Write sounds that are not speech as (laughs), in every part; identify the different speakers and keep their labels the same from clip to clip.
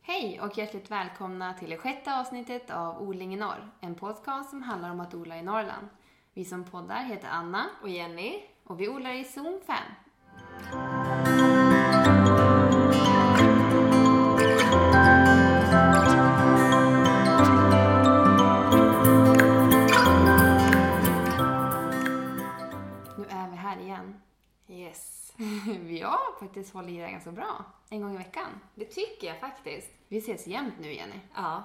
Speaker 1: Hej och hjärtligt välkomna till det sjätte avsnittet av Odling i norr, en podcast som handlar om att odla i Norrland. Vi som poddar heter Anna
Speaker 2: Och Jenny.
Speaker 1: och vi odlar i zon 5. Nu är vi här igen. (laughs)
Speaker 2: Yes.
Speaker 1: Vi har faktiskt hållit i det här ganska bra, en gång i veckan.
Speaker 2: Det tycker jag faktiskt.
Speaker 1: Vi ses jämt nu, Jenny.
Speaker 2: Ja.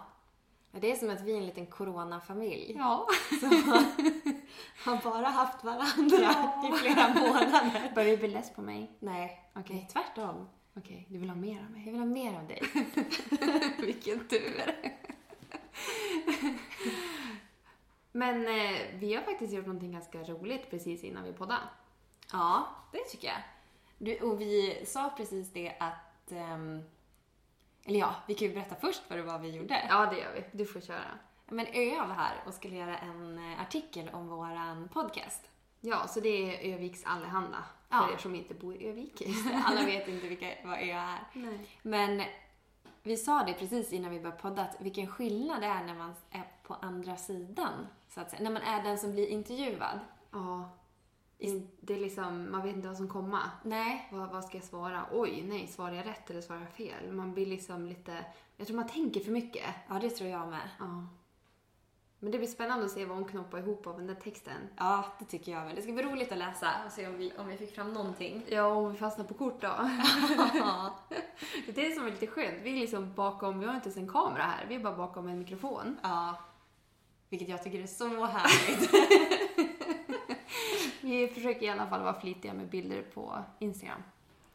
Speaker 2: Men Det är som att vi är en liten coronafamilj.
Speaker 1: Ja.
Speaker 2: Har bara haft varandra
Speaker 1: Ja.
Speaker 2: (laughs) i flera månader. Mm.
Speaker 1: Börjar du bli less på mig?
Speaker 2: Nej,
Speaker 1: Okej.
Speaker 2: nej, tvärtom.
Speaker 1: Okej, du vill ha mer av mig?
Speaker 2: Jag vill ha mer (laughs) av dig.
Speaker 1: Vilken tur! Men eh, vi har faktiskt gjort någonting ganska roligt precis innan vi poddade.
Speaker 2: Ja, det tycker jag. Du, och vi sa precis det att... ehm, eller ja, vi kan ju berätta först vad det var vi gjorde.
Speaker 1: Ja, det gör vi. Du får köra.
Speaker 2: Men Ö var här och skulle göra en eh, artikel om våran podcast.
Speaker 1: Ja, så det är Öviks Allehanda för
Speaker 2: Ja.
Speaker 1: er som inte bor i Övik. (laughs)
Speaker 2: Alla vet inte vilka, vad Ö är.
Speaker 1: Nej.
Speaker 2: Men vi sa det precis innan vi började podda, att vilken skillnad det är när man är på andra sidan. Så att säga. När man är den som blir intervjuad.
Speaker 1: Ja,
Speaker 2: Is-
Speaker 1: det är liksom, man vet inte vad som komma.
Speaker 2: Nej.
Speaker 1: Vad, vad ska jag svara? Oj, nej, svarar jag rätt eller svarar jag fel? Man blir liksom lite, jag tror man tänker för mycket.
Speaker 2: Ja, det tror jag med.
Speaker 1: Ja. Men det blir spännande att se vad hon knoppar ihop av den där texten.
Speaker 2: Ja, det tycker jag med. Det ska bli roligt att läsa och se om vi, om vi fick
Speaker 1: (laughs)
Speaker 2: fram någonting.
Speaker 1: Ja, om vi fastnar på kort då. (laughs)
Speaker 2: Ja.
Speaker 1: Det är det som är lite skönt. Vi är liksom bakom, vi har inte ens en kamera här. Vi är bara bakom en mikrofon.
Speaker 2: ja. Vilket jag tycker är så härligt.
Speaker 1: Vi försöker i alla fall vara flitiga med bilder på Instagram.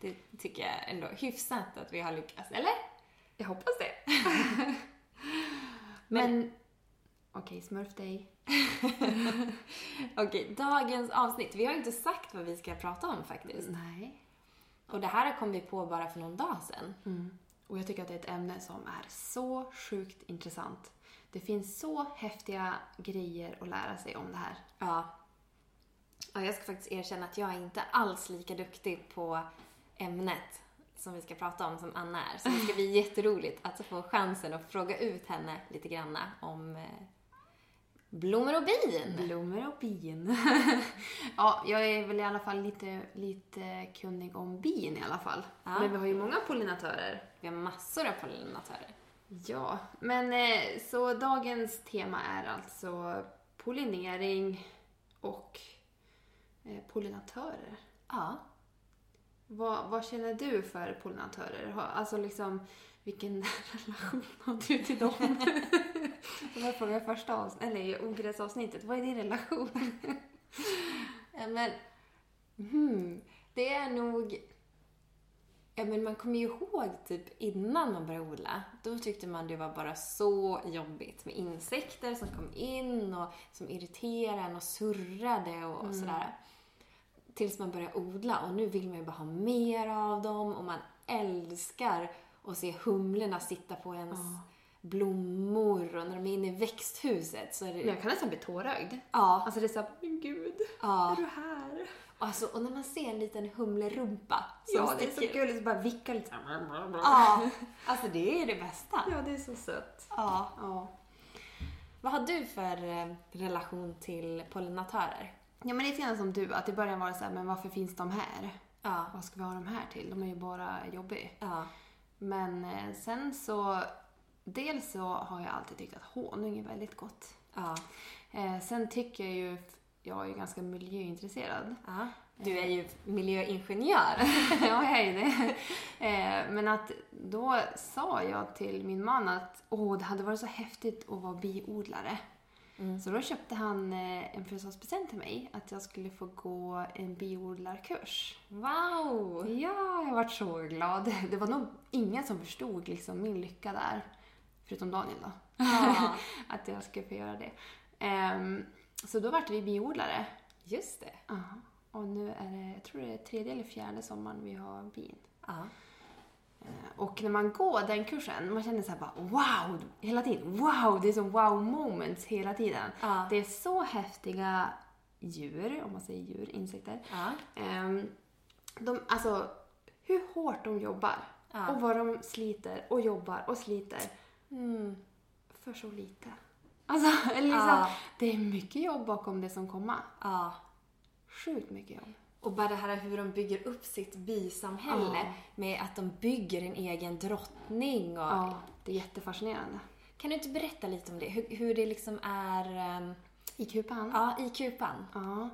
Speaker 2: Det tycker jag ändå hyfsat att vi har lyckats, eller?
Speaker 1: Jag hoppas det. (laughs) Men... Okej, smurf dig.
Speaker 2: Okej, dagens avsnitt. Vi har ju inte sagt vad vi ska prata om faktiskt.
Speaker 1: Mm. Nej.
Speaker 2: Och det här kom vi på bara för någon dag sedan.
Speaker 1: Och jag tycker att det är ett ämne som är så sjukt intressant. Det finns så häftiga grejer att lära sig om det här.
Speaker 2: Ja. ja. Jag ska faktiskt erkänna att jag är inte alls lika duktig på ämnet som vi ska prata om som Anna är. Så det ska bli jätteroligt att få chansen att fråga ut henne lite granna om eh, blommor och bin.
Speaker 1: Blommor och bin. (laughs) ja, jag är väl i alla fall lite, lite kunnig om bin i alla fall.
Speaker 2: Ja.
Speaker 1: Men vi har ju många pollinatörer.
Speaker 2: Vi har massor av pollinatörer.
Speaker 1: Ja, men eh, så dagens tema är alltså pollinering och eh, pollinatörer.
Speaker 2: Ja.
Speaker 1: Vad, vad känner du för pollinatörer? Har- Alltså liksom, vilken (laughs) relation har du till (laughs) dem? Det var frågan i första avsnittet, eller i ogräsavsnittet. Vad är din relation?
Speaker 2: Ja, Men, hmm, det är nog... Ja, men man kommer ju ihåg typ innan man började odla. Då tyckte man det var bara så jobbigt med insekter som kom in och som irriterade en och surrade och sådär. Tills man började odla och nu vill man ju bara ha mer av dem och man älskar att se humlorna sitta på ens blommor och när de är inne i växthuset så är det...
Speaker 1: Men jag kan nästan bli tårögd.
Speaker 2: Ja,
Speaker 1: Alltså det är såhär, men gud,
Speaker 2: ja.
Speaker 1: är du här?
Speaker 2: Och Alltså, och när man ser en liten humlerumpa som
Speaker 1: ja, det är
Speaker 2: sticker.
Speaker 1: så gulligt. Så bara vickar lite såhär.
Speaker 2: Ja, alltså det är det bästa.
Speaker 1: ja, det är så sött.
Speaker 2: Ja.
Speaker 1: Ja.
Speaker 2: Vad har du för eh, relation till pollinatörer?
Speaker 1: ja, men lite grann som du, att i början var det såhär, men varför finns de här?
Speaker 2: Ja.
Speaker 1: Vad ska vi ha de här till? De är ju bara jobbiga.
Speaker 2: Ja.
Speaker 1: Men eh, sen så, dels så har jag alltid tyckt att honung är väldigt gott.
Speaker 2: Ja.
Speaker 1: Eh, sen tycker jag ju, jag är ju ganska miljöintresserad. (laughs)
Speaker 2: ja. Du är ju miljöingenjör.
Speaker 1: ja, jag är ju det. Eh, Men att då sa jag till min man att åh, det hade varit så häftigt att vara biodlare. Så då köpte han eh, en födelsedagspresent till mig, att jag skulle få gå en biodlarkurs.
Speaker 2: Wow!
Speaker 1: Ja, jag vart så glad. Det var nog ingen som förstod liksom min lycka där, förutom Daniel då,
Speaker 2: Ja.
Speaker 1: att jag skulle få göra det. Ehm, Så då vart vi biodlare.
Speaker 2: Just det.
Speaker 1: Ja. Och nu är det, jag tror det är tredje eller fjärde sommaren vi har bin.
Speaker 2: Ja.
Speaker 1: Och när man går den kursen, man känner så här bara wow! Hela tiden. Wow! Det är som wow moments hela tiden.
Speaker 2: Ja.
Speaker 1: Det är så häftiga djur, om man säger djur, insekter.
Speaker 2: Ja.
Speaker 1: Ehm, de, alltså, hur hårt de jobbar.
Speaker 2: Ja.
Speaker 1: Och vad de sliter och jobbar och sliter
Speaker 2: Mm.
Speaker 1: för så lite. Alltså, (laughs) eller liksom,
Speaker 2: Ja.
Speaker 1: det är mycket jobb bakom det som komma.
Speaker 2: Ja.
Speaker 1: Sjukt mycket jobb.
Speaker 2: Och bara det här hur de bygger upp sitt bisamhälle
Speaker 1: Ja.
Speaker 2: med att de bygger en egen drottning och...
Speaker 1: Ja, det är jättefascinerande.
Speaker 2: Kan du inte berätta lite om det? Hur, hur det liksom är ehm,
Speaker 1: I kupan?
Speaker 2: ja, i kupan?
Speaker 1: Ja.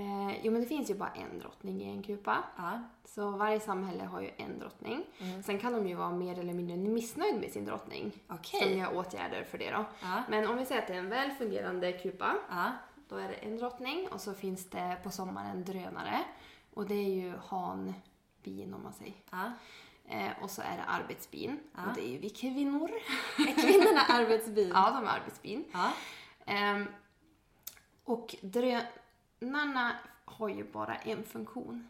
Speaker 1: Eh, jo, men det finns ju bara en drottning i en kupa.
Speaker 2: Ja.
Speaker 1: Så varje samhälle har ju en drottning. Sen kan de ju vara mer eller mindre missnöjda med sin drottning.
Speaker 2: Okej.
Speaker 1: Som gör åtgärder för det då.
Speaker 2: Ja.
Speaker 1: Men om vi säger att det är en väl fungerande kupa.
Speaker 2: Ja.
Speaker 1: Då är det en drottning och så finns det på sommaren drönare. Och det är ju hanbin om man säger.
Speaker 2: ja.
Speaker 1: Eh, och så är det arbetsbin. Och det är ju vi (laughs) kvinnor.
Speaker 2: Är
Speaker 1: (laughs)
Speaker 2: kvinnorna arbetsbil?
Speaker 1: ja, de är arbetsbin.
Speaker 2: Ja.
Speaker 1: Ehm, och drönarna har ju bara en funktion.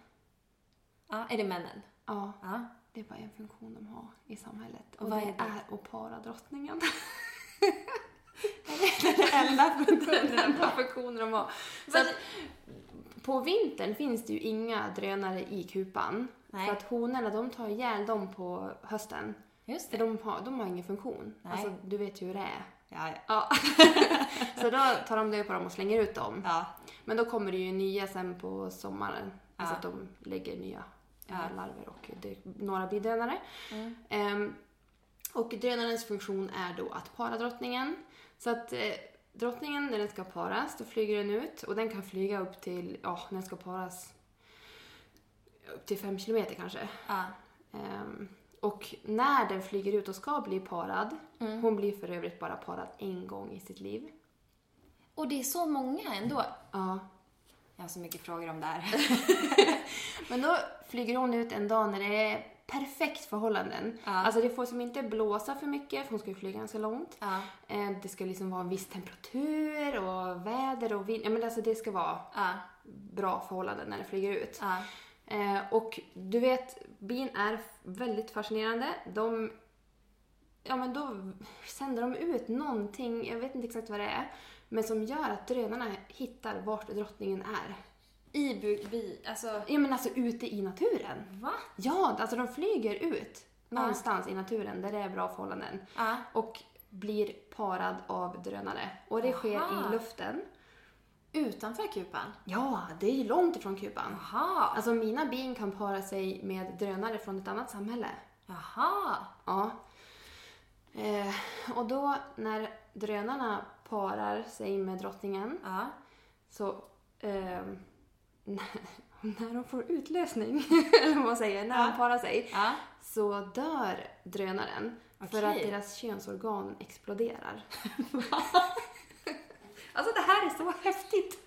Speaker 2: ja. Är det männen?
Speaker 1: Ja,
Speaker 2: Ja.
Speaker 1: (laughs) det är bara en funktion de har i samhället.
Speaker 2: Och
Speaker 1: Och
Speaker 2: vad
Speaker 1: det
Speaker 2: är det?
Speaker 1: är att para drottningen. (laughs)
Speaker 2: (laughs) Enda
Speaker 1: det är den enda funktionen de har. Så att, på vintern finns det ju inga drönare i kupan.
Speaker 2: Nej.
Speaker 1: För att honorna de tar ihjäl dem på hösten.
Speaker 2: Just
Speaker 1: För
Speaker 2: det.
Speaker 1: de har, de har ingen funktion.
Speaker 2: Nej.
Speaker 1: Alltså, du vet ju hur det är.
Speaker 2: Ja, ja.
Speaker 1: Ja. så då tar de död på dem och slänger ut dem.
Speaker 2: ja.
Speaker 1: Men då kommer det ju nya sen på sommaren. Alltså
Speaker 2: Ja.
Speaker 1: att de lägger nya
Speaker 2: Ja. Mm.
Speaker 1: eh, larver och det, några blir drönare. Ehm, och drönarens funktion är då att para drottningen. Så att eh, drottningen, när den ska paras, då flyger den ut och den kan flyga upp till, ja, när den ska paras, upp till fem kilometer kanske.
Speaker 2: ja.
Speaker 1: Ehm, och när den flyger ut och ska bli parad,
Speaker 2: Mm.
Speaker 1: hon blir för övrigt bara parad en gång i sitt liv.
Speaker 2: Och det är så många ändå.
Speaker 1: Ja,
Speaker 2: Jag har så mycket frågor om
Speaker 1: (laughs)
Speaker 2: det här.
Speaker 1: Men då flyger hon ut en dag när det är perfekt förhållanden.
Speaker 2: Ja.
Speaker 1: Alltså det får som inte blåsa för mycket, för hon ska ju flyga ganska långt.
Speaker 2: Ja.
Speaker 1: Eh, Det ska liksom vara en viss temperatur och väder och vind. Ja, men alltså det ska vara
Speaker 2: Ja.
Speaker 1: bra förhållanden när det flyger ut.
Speaker 2: Ja.
Speaker 1: Eh, Och du vet, bin är väldigt fascinerande. De Ja men då sänder de ut någonting, jag vet inte exakt vad det är, men som gör att drönarna hittar vart drottningen är.
Speaker 2: I bu- bi... Alltså...
Speaker 1: Ja men alltså ute i naturen.
Speaker 2: Va?
Speaker 1: Ja, alltså de flyger ut någonstans i naturen där det är bra förhållanden
Speaker 2: Ja.
Speaker 1: och blir parad av drönare. Och det sker
Speaker 2: Aha.
Speaker 1: i luften.
Speaker 2: Utanför kupan?
Speaker 1: Ja, det är ju långt ifrån Kuban.
Speaker 2: Jaha.
Speaker 1: Alltså mina bin kan para sig med drönare från ett annat samhälle.
Speaker 2: Jaha.
Speaker 1: Ja. Eh, och då när drönarna parar sig med drottningen
Speaker 2: Ja.
Speaker 1: så... ehm, (laughs) när de får utlösning, (laughs) eller vad man säger, när de parar sig
Speaker 2: Ja.
Speaker 1: så dör drönaren för
Speaker 2: Okej.
Speaker 1: att deras könsorgan exploderar. (laughs) alltså det här är så häftigt!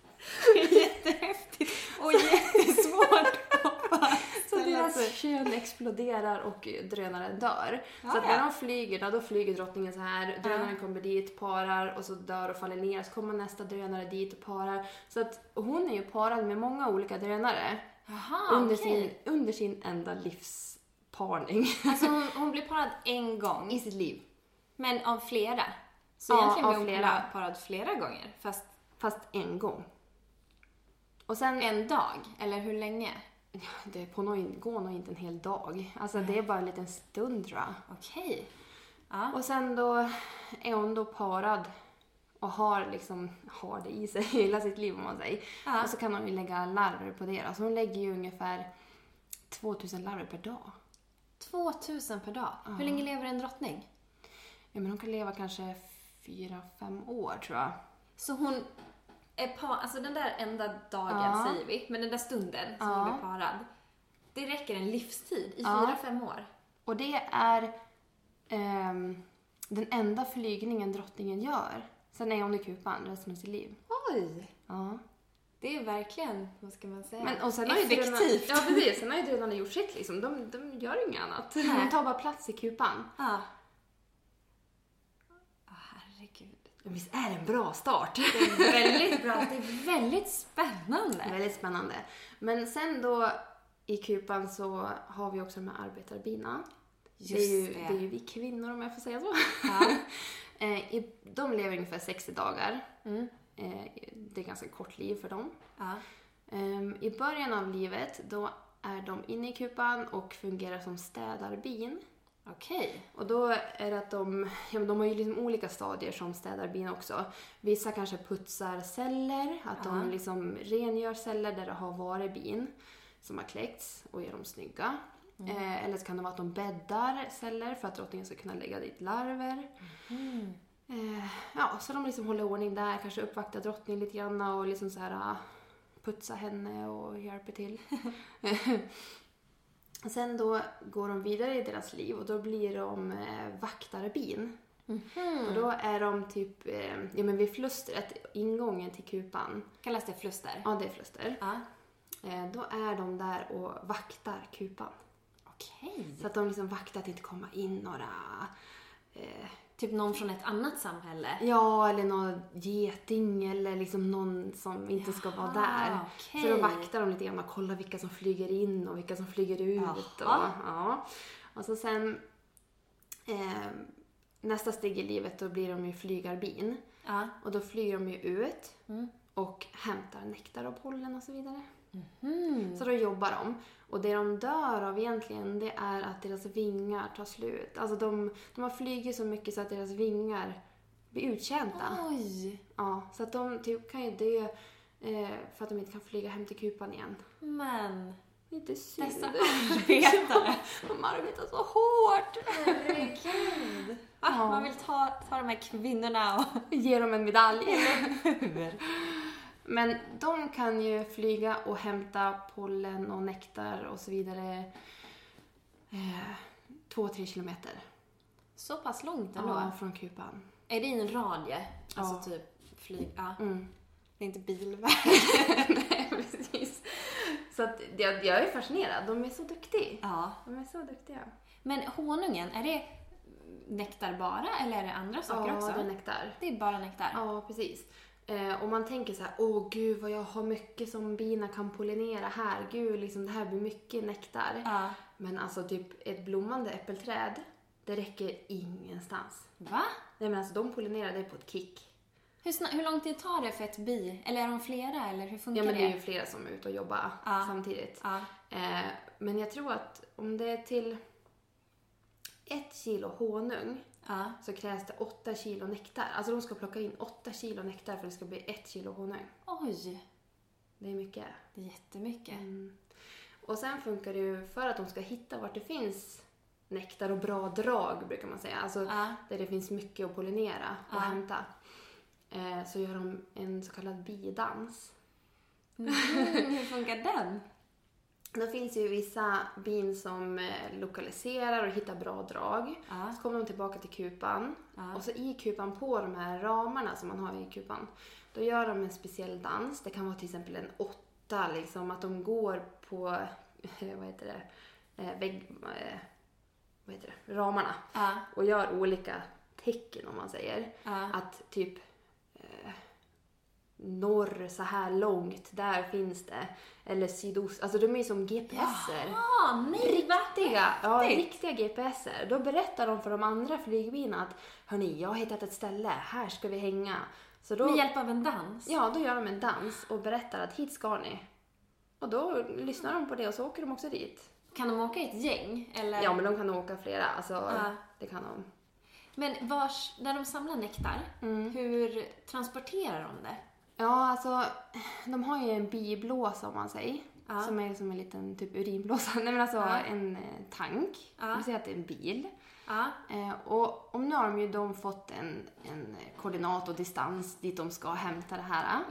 Speaker 2: Jättehäftigt (laughs)
Speaker 1: (laughs)
Speaker 2: och jättesvårt
Speaker 1: Så deras kön exploderar och drönaren dör. så att
Speaker 2: Ja, ja.
Speaker 1: när de flyger, då, då flyger drottningen så här, drönaren kommer dit, parar och så dör och faller ner. Så kommer nästa drönare dit och parar. Så att hon är ju parad med många olika drönare
Speaker 2: Jaha,
Speaker 1: under,
Speaker 2: okej.
Speaker 1: sin, under sin enda livsparning. (laughs)
Speaker 2: Alltså hon, hon blir parad en gång,
Speaker 1: I sitt liv.
Speaker 2: men av flera. Så
Speaker 1: Ja,
Speaker 2: egentligen
Speaker 1: av
Speaker 2: blir hon
Speaker 1: flera.
Speaker 2: flera. parad flera gånger, fast
Speaker 1: Fast en gång. Och sen
Speaker 2: en dag, eller hur länge?
Speaker 1: Det på nog, går nog inte en hel dag. Alltså det är bara en liten stund tror jag.
Speaker 2: Okej.
Speaker 1: Och sen då är hon då parad och har liksom har det i sig (laughs) hela sitt liv om man säger.
Speaker 2: Ja.
Speaker 1: Och så kan hon ju lägga larver på det då. Så hon lägger ju ungefär 2000 larver per dag.
Speaker 2: 2000 per dag. Hur länge lever en drottning?
Speaker 1: Ja, men hon kan leva kanske 4-5 år tror jag.
Speaker 2: Så hon är par, alltså den där enda dagen
Speaker 1: Ja.
Speaker 2: säger vi, men den där stunden som
Speaker 1: Ja.
Speaker 2: hon blir parad. Det räcker en livstid i
Speaker 1: Ja.
Speaker 2: fyra fem år.
Speaker 1: Och det är ehm, den enda flygningen drottningen gör. Sen är hon i kupan resten av sitt liv.
Speaker 2: Oj!
Speaker 1: Ja.
Speaker 2: Det är verkligen, vad ska man säga,
Speaker 1: Men, och sen har ju drönarna-
Speaker 2: effektivt.
Speaker 1: Ja precis, sen har ju drönarna gjort sitt liksom. De, de gör inget annat. De tar bara plats i kupan.
Speaker 2: Ja. Ah, herregud.
Speaker 1: Visst är det en bra start?
Speaker 2: Väldigt bra. Det är väldigt spännande.
Speaker 1: Väldigt spännande. Men sen då i kupan så har vi också de här arbetarbina. det, är ju,
Speaker 2: Just det.
Speaker 1: det är ju vi kvinnor om jag får säga så.
Speaker 2: Ja.
Speaker 1: (laughs) Eh, i- de lever ungefär 60 dagar.
Speaker 2: Ah,
Speaker 1: Eh, Det är ganska kort liv för dem.
Speaker 2: Ja.
Speaker 1: Ehm, I början av livet då är de inne i kupan och fungerar som städarbin.
Speaker 2: Okej.
Speaker 1: Och då är det att de, ja, men de har ju liksom olika stadier som städar bin också. Vissa kanske putsar celler, att
Speaker 2: Ja.
Speaker 1: de liksom rengör celler där det har varit bin som har kläckts och gör dem snygga. Eh, eller så kan det vara att de bäddar celler för att drottningen ska kunna lägga dit larver. Eh, ja, så de liksom håller ordning där, kanske uppvaktar drottningen lite grann och liksom så här ah, putsa henne och hjälper till. (laughs) Sen då går de vidare i deras liv och då blir de eh, vaktarbin. Och då är de typ eh, ja, men vid flustret, ingången till kupan.
Speaker 2: Kallas det fluster?
Speaker 1: Ja, det är fluster.
Speaker 2: Ja.
Speaker 1: Eh, då är de där och vaktar kupan.
Speaker 2: Okej.
Speaker 1: Så att de liksom vaktar att det inte komma in några... Eh,
Speaker 2: Typ någon från ett annat samhälle?
Speaker 1: ja, eller någon geting eller liksom någon som inte ska vara där.
Speaker 2: Ah, okej.
Speaker 1: Så då vaktar de lite grann och kollar vilka som flyger in och vilka som flyger ut. Och,
Speaker 2: Jaha.
Speaker 1: ja. och så sen... Eh, nästa steg i livet, då blir de ju flygarbin.
Speaker 2: Ja.
Speaker 1: Och då flyger de ju ut
Speaker 2: Mm.
Speaker 1: och hämtar nektar och pollen och så vidare.
Speaker 2: Mm.
Speaker 1: Så då jobbar de. Och det de dör av egentligen, det är att deras vingar tar slut. Alltså de, de har flugit så mycket så att deras vingar blir uttjänta.
Speaker 2: Oj.
Speaker 1: Ja, så att de typ kan ju dö eh, för att de inte kan flyga hem till kupan igen.
Speaker 2: Men.
Speaker 1: Lite synd.
Speaker 2: Dessa arbetare.
Speaker 1: De arbetar (laughs) så hårt!
Speaker 2: Herregud. Ah, Man vill ta, ta de här kvinnorna och... (laughs)
Speaker 1: Ge dem en medalj. Men de kan ju flyga och hämta pollen och nektar och så vidare eh, två, tre kilometer
Speaker 2: Så pass långt ändå?
Speaker 1: ja, från kupan.
Speaker 2: Är det i en radie? Alltså
Speaker 1: Ja.
Speaker 2: typ flyg... Ja.
Speaker 1: Mm.
Speaker 2: Det är inte bilväg.
Speaker 1: Nej, (laughs) precis. Så att jag, jag är fascinerad. De är så duktiga.
Speaker 2: (laughs) Ja.
Speaker 1: De är så duktiga.
Speaker 2: Men honungen, är det nektar bara eller är det andra saker
Speaker 1: Ja,
Speaker 2: också?
Speaker 1: det är nektar.
Speaker 2: Det är bara nektar?
Speaker 1: Ja, precis. Eh, och man tänker så här, åh gud vad jag har mycket som bina kan pollinera här. Gud, liksom, det här blir mycket nektar.
Speaker 2: Ja.
Speaker 1: Men alltså typ ett blommande äppelträd, det räcker ingenstans.
Speaker 2: Va?
Speaker 1: Nej men alltså de pollinerar det på ett kick.
Speaker 2: Hur, sna- hur lång tid tar det för ett bi? Eller är de flera eller hur funkar
Speaker 1: Ja men det är ju
Speaker 2: det?
Speaker 1: flera som är ute och jobbar
Speaker 2: Ja.
Speaker 1: samtidigt.
Speaker 2: Ja.
Speaker 1: Eh, men jag tror att om det är till ett kilo honung
Speaker 2: ja.
Speaker 1: så krävs det åtta kilo nektar. Alltså de ska plocka in åtta kilo nektar för att det ska bli ett kilo honung.
Speaker 2: Oj,
Speaker 1: Det är mycket.
Speaker 2: det är jättemycket.
Speaker 1: Mm. Och sen funkar det ju för att de ska hitta vart det finns nektar och bra drag brukar man säga. Alltså
Speaker 2: Ja.
Speaker 1: där det finns mycket att pollinera och
Speaker 2: Ja.
Speaker 1: hämta. Eh, så gör de en så kallad bidans. (laughs)
Speaker 2: Mm, hur funkar den?
Speaker 1: Då finns ju vissa bin som eh, lokaliserar och hittar bra drag.
Speaker 2: Ja.
Speaker 1: Så kommer de tillbaka till kupan
Speaker 2: Ja.
Speaker 1: och så i kupan på de här ramarna som man har i kupan då gör de en speciell dans. Det kan vara till exempel en åtta, liksom att de går på (laughs) eh, vad heter det, eh, vägg, eh, vad heter det, ramarna
Speaker 2: Ja.
Speaker 1: och gör olika tecken om man säger.
Speaker 2: Ja.
Speaker 1: Att typ eh, norr så här långt, där finns det. Eller sydost, alltså de är ju som GPSer.
Speaker 2: Ah, nej, va?
Speaker 1: Riktiga, ja,
Speaker 2: häftigt.
Speaker 1: riktiga GPSer. Då berättar de för de andra flygbinorna att hörni, jag har hittat ett ställe, här ska vi hänga. Så då,
Speaker 2: Med hjälp av en dans?
Speaker 1: ja, då gör de en dans och berättar att hit ska ni. Och då lyssnar de på det och så åker de också dit.
Speaker 2: Kan de åka i ett gäng? Eller?
Speaker 1: Ja, men de kan åka flera, alltså
Speaker 2: Ja.
Speaker 1: det kan de.
Speaker 2: Men vars, när de samlar nektar,
Speaker 1: Mm.
Speaker 2: hur transporterar de det?
Speaker 1: Ja, alltså de har ju en biblåsa om man säger.
Speaker 2: Ja.
Speaker 1: Som är som en liten typ urinblåsa. (laughs) Nej men alltså en eh, tank.
Speaker 2: Ja.
Speaker 1: Vi säger att det är en bil.
Speaker 2: Ja.
Speaker 1: Eh, och om nu har de ju de fått en, en koordinat och distans dit de ska hämta det här.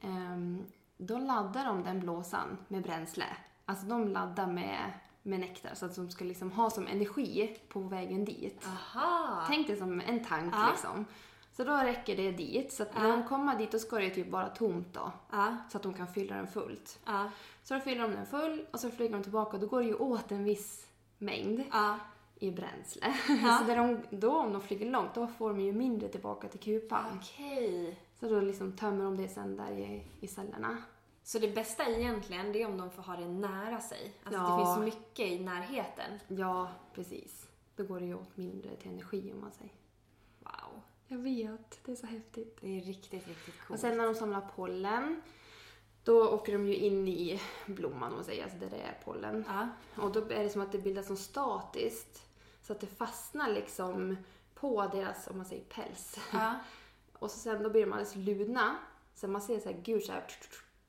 Speaker 1: Ehm, då laddar de den blåsan med bränsle. Alltså de laddar med, med nektar så att de ska liksom ha som energi på vägen dit.
Speaker 2: Aha.
Speaker 1: Tänk dig som en tank
Speaker 2: Ja.
Speaker 1: liksom. Så då räcker det dit. Så att när de kommer dit då ska det ju typ vara tomt då.
Speaker 2: Ja.
Speaker 1: Så att de kan fylla den fullt.
Speaker 2: Ja.
Speaker 1: Så då fyller de den full och så flyger de tillbaka och då går det ju åt en viss mängd
Speaker 2: Ja.
Speaker 1: i bränsle. (laughs) så där de, då om de flyger långt då får de ju mindre tillbaka till kupan.
Speaker 2: Okej.
Speaker 1: Så då liksom tömmer de det sen där i, i cellerna.
Speaker 2: Så det bästa egentligen, det är om de får ha det nära sig. Alltså
Speaker 1: Ja.
Speaker 2: det finns så mycket i närheten.
Speaker 1: Ja, precis. Då går det ju åt mindre till energi om man säger.
Speaker 2: Wow.
Speaker 1: Jag vet, det är så häftigt.
Speaker 2: Det är riktigt, riktigt
Speaker 1: Och
Speaker 2: coolt.
Speaker 1: sen när de samlar pollen, Då åker de ju in i blomman, om man säger, alltså där det är pollen.
Speaker 2: Ja.
Speaker 1: Och då är det som att det bildas som statiskt. Så att det fastnar liksom på deras, om man säger päls.
Speaker 2: Ja.
Speaker 1: (laughs) Och så sen då blir de alldeles ludna. Så man ser så här gul så här,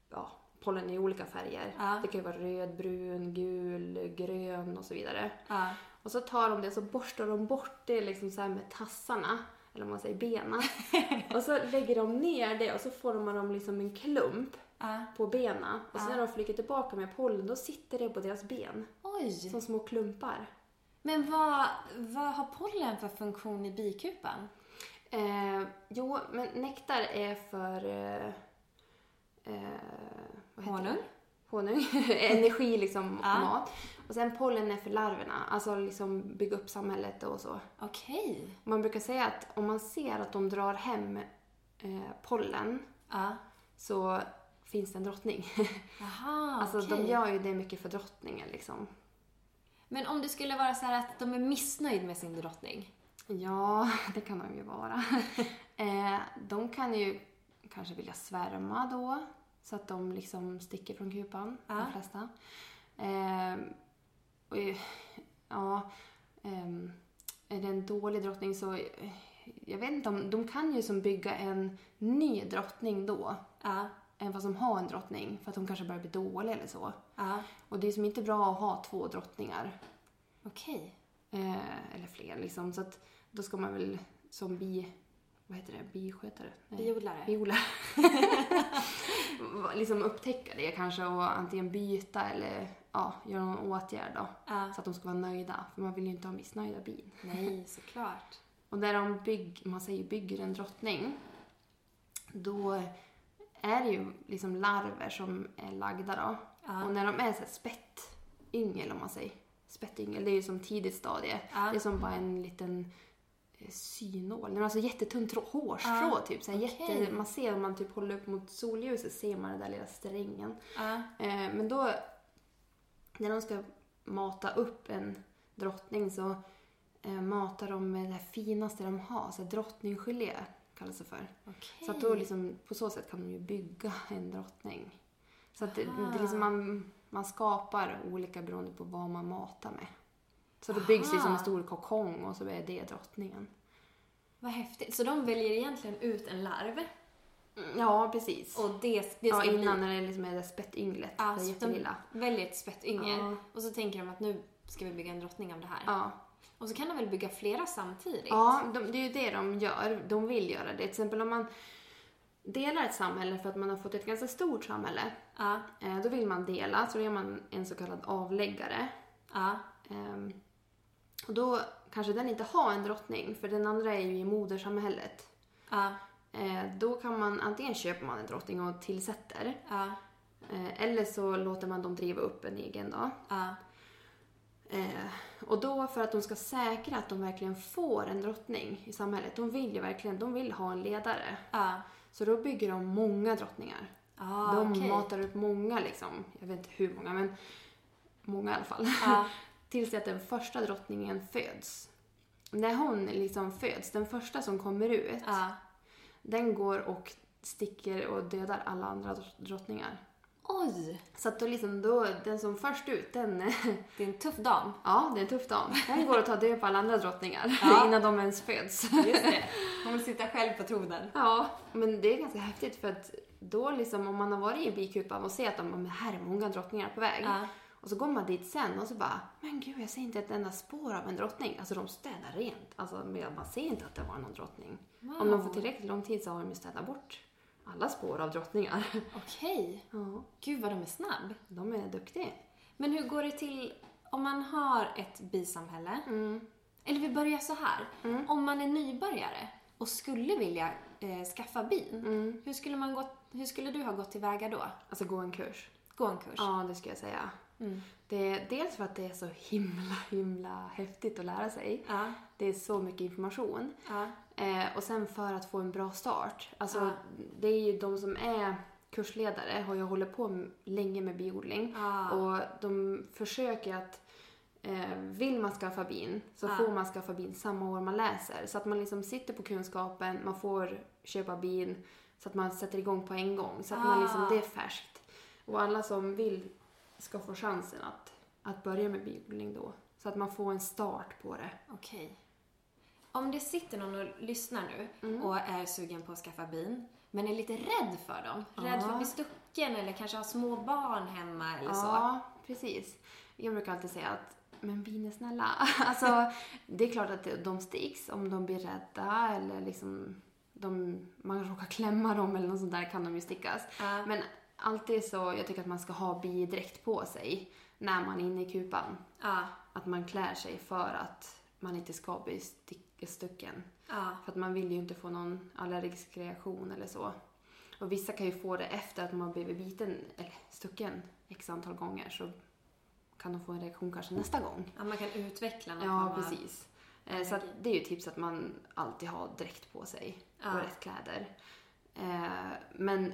Speaker 1: ja, pollen i olika färger.
Speaker 2: Ja.
Speaker 1: Det kan ju vara röd, brun, gul, grön och så vidare.
Speaker 2: Ja.
Speaker 1: Och så tar de det och så borstar de bort det liksom så här med tassarna, eller om man säger
Speaker 2: (laughs)
Speaker 1: benen. och så lägger de ner det och så formar de liksom en klump
Speaker 2: Ja.
Speaker 1: på benen. Och sen
Speaker 2: Ja.
Speaker 1: när de flyger tillbaka med pollen, då sitter det på deras ben.
Speaker 2: Oj!
Speaker 1: Som små klumpar.
Speaker 2: Men vad, vad har pollen för funktion i bikupan?
Speaker 1: Eh, jo, men nektar är för... Eh, eh, vad heter
Speaker 2: Honung?
Speaker 1: det? Honung. (laughs) Energi liksom,
Speaker 2: Ja.
Speaker 1: och mat. Och sen pollen är för larverna, alltså liksom bygga upp samhället och så.
Speaker 2: Okej.
Speaker 1: Man brukar säga att om man ser att de drar hem eh, pollen
Speaker 2: Ja.
Speaker 1: så finns det en drottning. (laughs)
Speaker 2: Aha,
Speaker 1: alltså
Speaker 2: okej.
Speaker 1: de gör ju det mycket för drottningen liksom.
Speaker 2: Men om det skulle vara så här att de är missnöjd med sin drottning?
Speaker 1: Ja, (laughs) det kan de ju vara. eh, de kan ju kanske vilja svärma då, så att de liksom sticker från kupan,
Speaker 2: Ja.
Speaker 1: de flesta. Eh, och, ju- ja, ehm, är det en dålig drottning så... eh, Jag vet inte, om, de kan ju som bygga en ny drottning då,
Speaker 2: Ja.
Speaker 1: än vad som har en drottning, för att hon kanske börjar bli dålig eller så.
Speaker 2: Ja.
Speaker 1: Och det är som inte bra att ha två drottningar
Speaker 2: Okej.
Speaker 1: Eh, eller fler liksom. Så att då ska man väl som bi... Vad heter det? Biskötare? Nej.
Speaker 2: Biodlare?
Speaker 1: Biodlare. (laughs) liksom upptäcka det kanske och antingen byta eller ja, göra någon åtgärd då.
Speaker 2: Ja.
Speaker 1: Så att de ska vara nöjda. För man vill ju inte ha missnöjda bin.
Speaker 2: Nej, såklart.
Speaker 1: Och när de bygg, man säger bygger en drottning, då är det ju liksom larver som är lagda då.
Speaker 2: Ja.
Speaker 1: Och när de är så här spettyngel, om man säger, spettyngel, det är ju som tidigt stadie.
Speaker 2: Ja.
Speaker 1: Det är som bara en liten eh, synål, men alltså jättetunt trå- hårstrå typ. Så här
Speaker 2: Okej.
Speaker 1: jätte, man ser om man typ håller upp mot solljuset ser man den där lilla strängen.
Speaker 2: Ja.
Speaker 1: Eh, Men då, när de ska mata upp en drottning så eh, matar de med det här finaste de har, så här drottninggelé kallas det för.
Speaker 2: Okej.
Speaker 1: Så att då liksom, på så sätt kan de ju bygga en drottning. Så att det, det är liksom
Speaker 2: Aha.
Speaker 1: man, man skapar olika beroende på vad man matar med. Så det byggs liksom en
Speaker 2: Aha.
Speaker 1: stor kokong och så är det drottningen.
Speaker 2: Vad häftigt. Så de väljer egentligen ut en larv
Speaker 1: Ja, precis.
Speaker 2: och det, Mm, det ska
Speaker 1: ja,
Speaker 2: bli...
Speaker 1: innan när det liksom är det spettynglet,
Speaker 2: Ja,
Speaker 1: det
Speaker 2: så de
Speaker 1: jättelilla.
Speaker 2: väljer ett spettyngel
Speaker 1: Ja.
Speaker 2: och så tänker de att nu ska vi bygga en drottning av det här.
Speaker 1: Ja.
Speaker 2: Och så kan de väl bygga flera samtidigt?
Speaker 1: Ja, de, det är ju det de gör. De vill göra det. Till exempel om man delar ett samhälle för att man har fått ett ganska stort samhälle.
Speaker 2: Ja.
Speaker 1: eh, Då vill man dela, så då är man en så kallad avläggare.
Speaker 2: Ja.
Speaker 1: Ehm, Och då kanske den inte har en drottning, för den andra är ju i modersamhället.
Speaker 2: Ja.
Speaker 1: Eh, Då kan man, antingen köper man en drottning och tillsätter,
Speaker 2: Ja.
Speaker 1: eh, eller så låter man dem driva upp en egen då.
Speaker 2: Ja.
Speaker 1: Eh, och då för att de ska säkra att de verkligen får en drottning i samhället, de vill ju verkligen, de vill ha en ledare.
Speaker 2: Ja.
Speaker 1: Så då bygger de många drottningar.
Speaker 2: Ah,
Speaker 1: de
Speaker 2: okej.
Speaker 1: matar upp många liksom, jag vet inte hur många men många i alla fall.
Speaker 2: Ja.
Speaker 1: Tills att den första drottningen föds. När hon liksom föds, den första som kommer ut,
Speaker 2: Ja.
Speaker 1: den går och sticker och dödar alla andra dr- drottningar.
Speaker 2: Oj!
Speaker 1: Så att då liksom, då, den som först ut, den (laughs)
Speaker 2: Det är en tuff dam.
Speaker 1: Ja, det är en tuff dam. Hon går och tar död på alla andra drottningar (laughs)
Speaker 2: Ja.
Speaker 1: innan de ens föds.
Speaker 2: Just det. Hon vill sitta själv på tronen.
Speaker 1: Ja, men det är ganska häftigt för att då liksom om man har varit i bikupan och ser att de, men här är många drottningar på väg.
Speaker 2: Ja.
Speaker 1: Och så går man dit sen och så bara, men gud jag ser inte ett enda spår av en drottning. Alltså de städar rent. Alltså men man ser inte att det var någon drottning.
Speaker 2: Wow.
Speaker 1: Om de får tillräckligt lång tid så har de ju städat bort alla spår av drottningar. (laughs)
Speaker 2: Okej.
Speaker 1: Ja,
Speaker 2: Gud vad de är snabb.
Speaker 1: de är duktiga.
Speaker 2: Men hur går det till om man har ett bisamhälle?
Speaker 1: Mm.
Speaker 2: Eller vi börjar så här. Om man är nybörjare och skulle vilja eh, skaffa bin,
Speaker 1: Mm.
Speaker 2: hur, skulle man gå, hur skulle du ha gått tillväga då?
Speaker 1: Alltså gå en kurs.
Speaker 2: Gå en kurs?
Speaker 1: Ja, det skulle jag säga.
Speaker 2: Mm.
Speaker 1: Det är dels för att det är så himla, himla häftigt att lära sig.
Speaker 2: Ja.
Speaker 1: Det är så mycket information.
Speaker 2: Ja.
Speaker 1: Eh, och sen för att få en bra start. Alltså,
Speaker 2: Ja.
Speaker 1: det är ju de som är kursledare har ju hållit på m- länge med biodling.
Speaker 2: Ja.
Speaker 1: Och de försöker att eh, vill man skaffa bin så
Speaker 2: Ja.
Speaker 1: får man skaffa bin samma år man läser. Så att man liksom sitter på kunskapen, man får köpa bin så att man sätter igång på en gång. Så att man
Speaker 2: Ah.
Speaker 1: liksom, det är färskt. Och alla som vill ska få chansen att, att börja med biodling då. Så att man får en start på det.
Speaker 2: Okej. Om det sitter någon och lyssnar nu
Speaker 1: Mm.
Speaker 2: och är sugen på att skaffa bin, men är lite rädd för dem, rädd för att bli stucken eller kanske har små barn hemma eller så.
Speaker 1: Ja, precis. Jag brukar alltid säga att men bin är snälla. (laughs)
Speaker 2: (laughs)
Speaker 1: Alltså, det är klart att de sticks om de blir rädda eller liksom de, man råkar klämma dem eller något sånt där kan de ju stickas.
Speaker 2: Ja.
Speaker 1: Men alltid så, jag tycker att man ska ha bidräkt på sig när man är inne i kupan.
Speaker 2: Ja,
Speaker 1: Att man klär sig för att man inte ska bli stick- stucken.
Speaker 2: ja,
Speaker 1: För att man vill ju inte få någon allergisk reaktion eller så. Och vissa kan ju få det efter att de har blivit biten, eller stucken, x antal gånger. Så kan de få en reaktion kanske nästa gång.
Speaker 2: ja. Man kan utveckla någon form
Speaker 1: Ja,
Speaker 2: av-
Speaker 1: precis. Eh, Så att det är ju ett tips att man alltid har dräkt på sig och
Speaker 2: Ja.
Speaker 1: rätt kläder. Eh, Men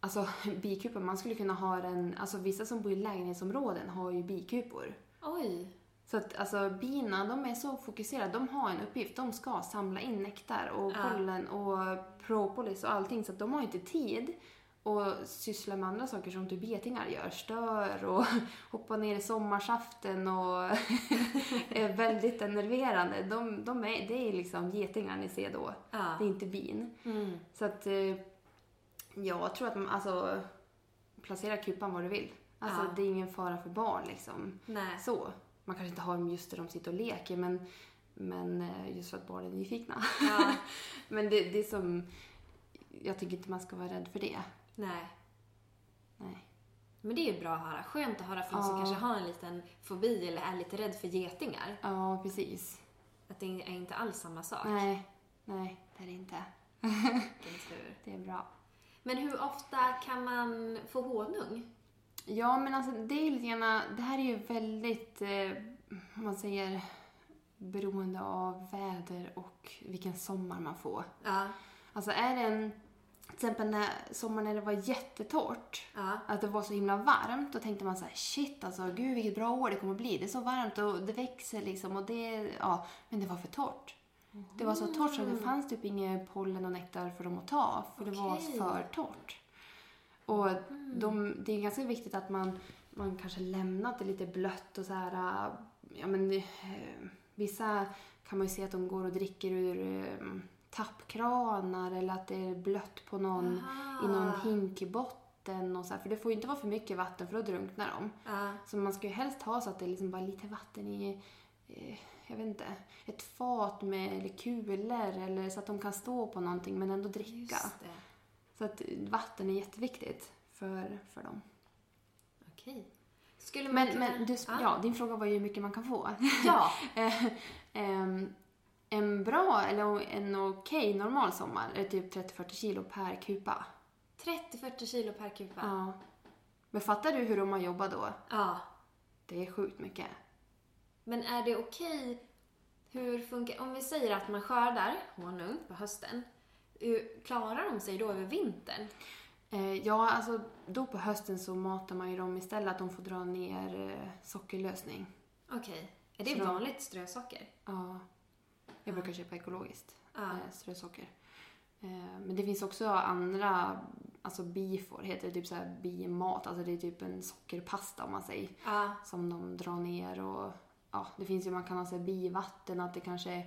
Speaker 1: alltså (laughs) bikupan, man skulle kunna ha den, alltså vissa som bor i lägenhetsområden har ju bikupor.
Speaker 2: Oj.
Speaker 1: Så att alltså bina, de är så fokuserade. De har en uppgift. De ska samla in nektar och
Speaker 2: Ja.
Speaker 1: pollen och propolis och allting. Så att de har inte tid att syssla med andra saker som typ betingar gör. Stör och (laughs) hoppar ner i sommarsaften och (laughs) är väldigt enerverande. De, de är, det är liksom getingar ni ser då.
Speaker 2: Ja.
Speaker 1: Det är inte bin.
Speaker 2: Mm.
Speaker 1: Så att eh, jag tror att man, alltså placera kupan var du vill. Alltså
Speaker 2: Ja.
Speaker 1: det är ingen fara för barn liksom
Speaker 2: Nej.
Speaker 1: så. Man kanske inte har dem just där de sitter och leker, men, men eh, just för att barn är nyfikna.
Speaker 2: Ja.
Speaker 1: (laughs) men det, det är som... Jag tycker inte man ska vara rädd för det.
Speaker 2: Nej.
Speaker 1: Nej.
Speaker 2: Men det är ju bra att höra. Skönt att höra från någon som
Speaker 1: Ja.
Speaker 2: kanske har en liten fobi eller är lite rädd för getingar.
Speaker 1: Ja, precis.
Speaker 2: Att det är inte alls samma sak.
Speaker 1: Nej, nej, det är det inte.
Speaker 2: Vilken tur.
Speaker 1: Det är bra.
Speaker 2: Men hur ofta kan man få honung?
Speaker 1: Ja, men alltså det är lite grann, Det här är ju väldigt, eh, om man säger, beroende av väder och vilken sommar man får.
Speaker 2: Ja.
Speaker 1: Alltså är det en... Till exempel när sommaren när det var jättetort.
Speaker 2: Ja.
Speaker 1: att det var så himla varmt, då tänkte man så här, shit alltså, gud vilket bra år det kommer att bli. Det är så varmt och det växer liksom och det, ja, men det var för torrt. Det var så torrt så det fanns typ inget pollen och nektar för dem att ta, för det var
Speaker 2: Okej.
Speaker 1: för torrt. Och de, det är ganska viktigt att man, man kanske lämnat det lite blött och så här, äh, ja men eh, vissa kan man ju se att de går och dricker ur eh, tappkranar eller att det är blött på någon i någon
Speaker 2: Ah.
Speaker 1: hinkbotten och så här, för det får ju inte vara för mycket vatten för då drunknar de.
Speaker 2: Ja.
Speaker 1: Så man ska ju helst ha så att det är liksom bara lite vatten i, eh, jag vet inte, ett fat med eller kulor eller så att de kan stå på någonting men ändå dricka.
Speaker 2: Just det.
Speaker 1: Så att vatten är jätteviktigt för, för dem.
Speaker 2: Okej. Skulle man
Speaker 1: Men,
Speaker 2: kunna... (laughs)
Speaker 1: men du,
Speaker 2: ja.
Speaker 1: ja, din fråga var ju hur mycket man kan få. (laughs)
Speaker 2: Ja.
Speaker 1: Eh, ehm, en bra eller en okej normal sommar är typ 30-40 kilo per kupa.
Speaker 2: 30-40 kilo per kupa. Ja.
Speaker 1: Ja. Men fattar du hur de har jobbat då? Det är sjukt mycket.
Speaker 2: Men är det okej? Hur funkar... Om vi säger att man skördar honung på hösten. hur Klarar de sig då över vintern?
Speaker 1: Eh, ja, alltså då på hösten så matar man ju dem istället att de får dra ner eh, sockerlösning.
Speaker 2: Okej. Är det
Speaker 1: Så de-
Speaker 2: vanligt strösocker?
Speaker 1: Ja. Jag brukar köpa ekologiskt
Speaker 2: Ja.
Speaker 1: eh, strösocker. Eh, men det finns också andra, alltså bifor heter det, typ såhär bimat, alltså det är typ en sockerpasta om man säger.
Speaker 2: Ja.
Speaker 1: som de drar ner och ja, det finns ju, man kan ha så här bivatten att det kanske är,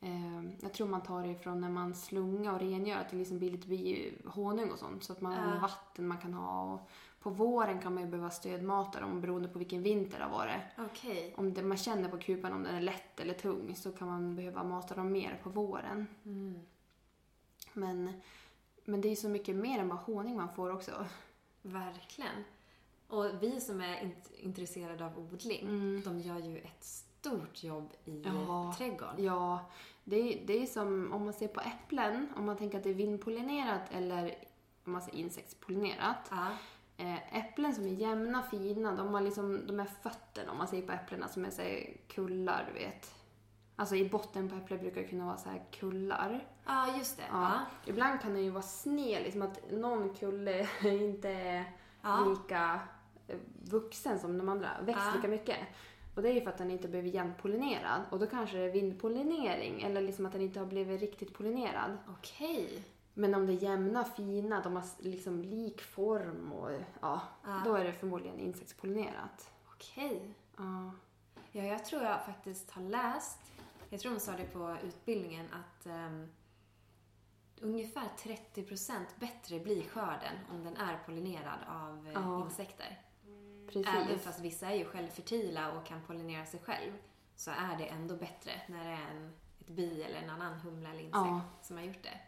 Speaker 1: eh, jag tror man tar det ifrån när man slungar och rengör att det liksom blir lite bihonung och sånt så att man har
Speaker 2: Ja.
Speaker 1: vatten man kan ha och på våren kan man ju behöva stödmata dem beroende på vilken vinter det har varit.
Speaker 2: Okej.
Speaker 1: Om det, man känner på kupan om den är lätt eller tung så kan man behöva mata dem mer på våren.
Speaker 2: Mm,
Speaker 1: Men, men det är ju så mycket mer än bara honung man får också.
Speaker 2: Verkligen. Och vi som är int- intresserade av odling, de gör ju ett stort jobb i
Speaker 1: Mm. Ja.
Speaker 2: trädgården.
Speaker 1: Ja, det är, det är som om man ser på äpplen, om man tänker att det är vindpollinerat eller om man säger insektspollinerat.
Speaker 2: Ja.
Speaker 1: Eh, äpplen som är jämna, fina, de har liksom de här fötterna om man ser på äpplena som är så här kullar, du vet. Alltså i botten på äpplen brukar det kunna vara så här kullar.
Speaker 2: ja, just det.
Speaker 1: Ja.
Speaker 2: Ja.
Speaker 1: Ibland kan den ju vara sned, liksom att någon kulle (laughs) inte är
Speaker 2: Ja.
Speaker 1: lika eh, vuxen som de andra, växt
Speaker 2: Ja.
Speaker 1: lika mycket. Och det är ju för att den inte blivit jämnpollinerad och då kanske det är vindpollinering eller liksom att den inte har blivit riktigt pollinerad.
Speaker 2: Okej.
Speaker 1: Men om det är jämna, fina, de har s- liksom lik form och ja,
Speaker 2: Ja.
Speaker 1: då är det förmodligen insektspollinerat.
Speaker 2: Okej.
Speaker 1: Ja.
Speaker 2: Ja, jag tror jag faktiskt har läst, jag tror de sa det på utbildningen, att ehm, ungefär 30% bättre blir skörden om den är pollinerad av eh,
Speaker 1: Ja,
Speaker 2: insekter. Även
Speaker 1: Precis.
Speaker 2: fast vissa är ju självfertila och kan pollinera sig själv, så är det ändå bättre när det är en, ett bi eller en annan humla eller insekt
Speaker 1: Ja.
Speaker 2: som har gjort det.